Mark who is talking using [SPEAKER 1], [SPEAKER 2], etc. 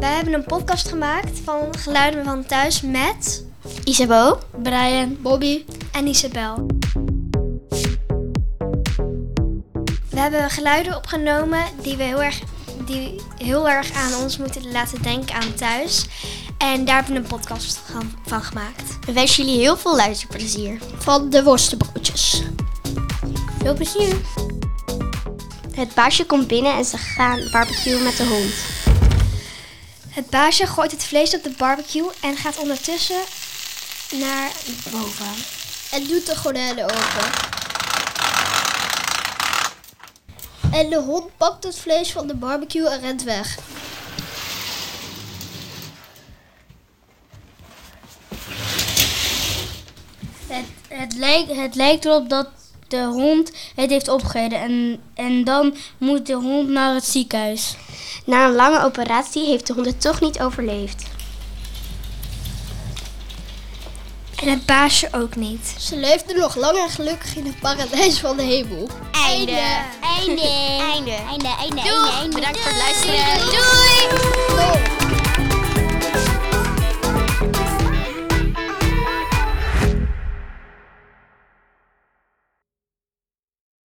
[SPEAKER 1] hebben een podcast gemaakt van Geluiden van Thuis met... Isabo, Brian, Bobby en Isabel. We hebben geluiden opgenomen die we heel erg, die heel erg aan ons moeten laten denken aan thuis. En daar hebben we een podcast gaan- van gemaakt.
[SPEAKER 2] We wensen jullie heel veel luisterplezier.
[SPEAKER 1] Van de worstenbroodjes. Veel plezier.
[SPEAKER 2] Het baasje komt binnen en ze gaan barbecuen met de hond.
[SPEAKER 1] Het baasje gooit het vlees op de barbecue en gaat ondertussen naar boven.
[SPEAKER 2] En doet de gordijnen open. En de hond pakt het vlees van de barbecue en rent weg.
[SPEAKER 3] Het, het, lijkt, het lijkt erop dat de hond het heeft opgegeten. En, en dan moet de hond naar het ziekenhuis.
[SPEAKER 2] Na een lange operatie heeft de hond het toch niet overleefd.
[SPEAKER 1] En het baasje ook niet.
[SPEAKER 2] Ze leefde nog lang en gelukkig in het paradijs van de hemel.
[SPEAKER 4] Einde. Einde. Einde. Einde. Einde. Einde. Einde. Bedankt voor het luisteren. Doei.
[SPEAKER 2] Doei.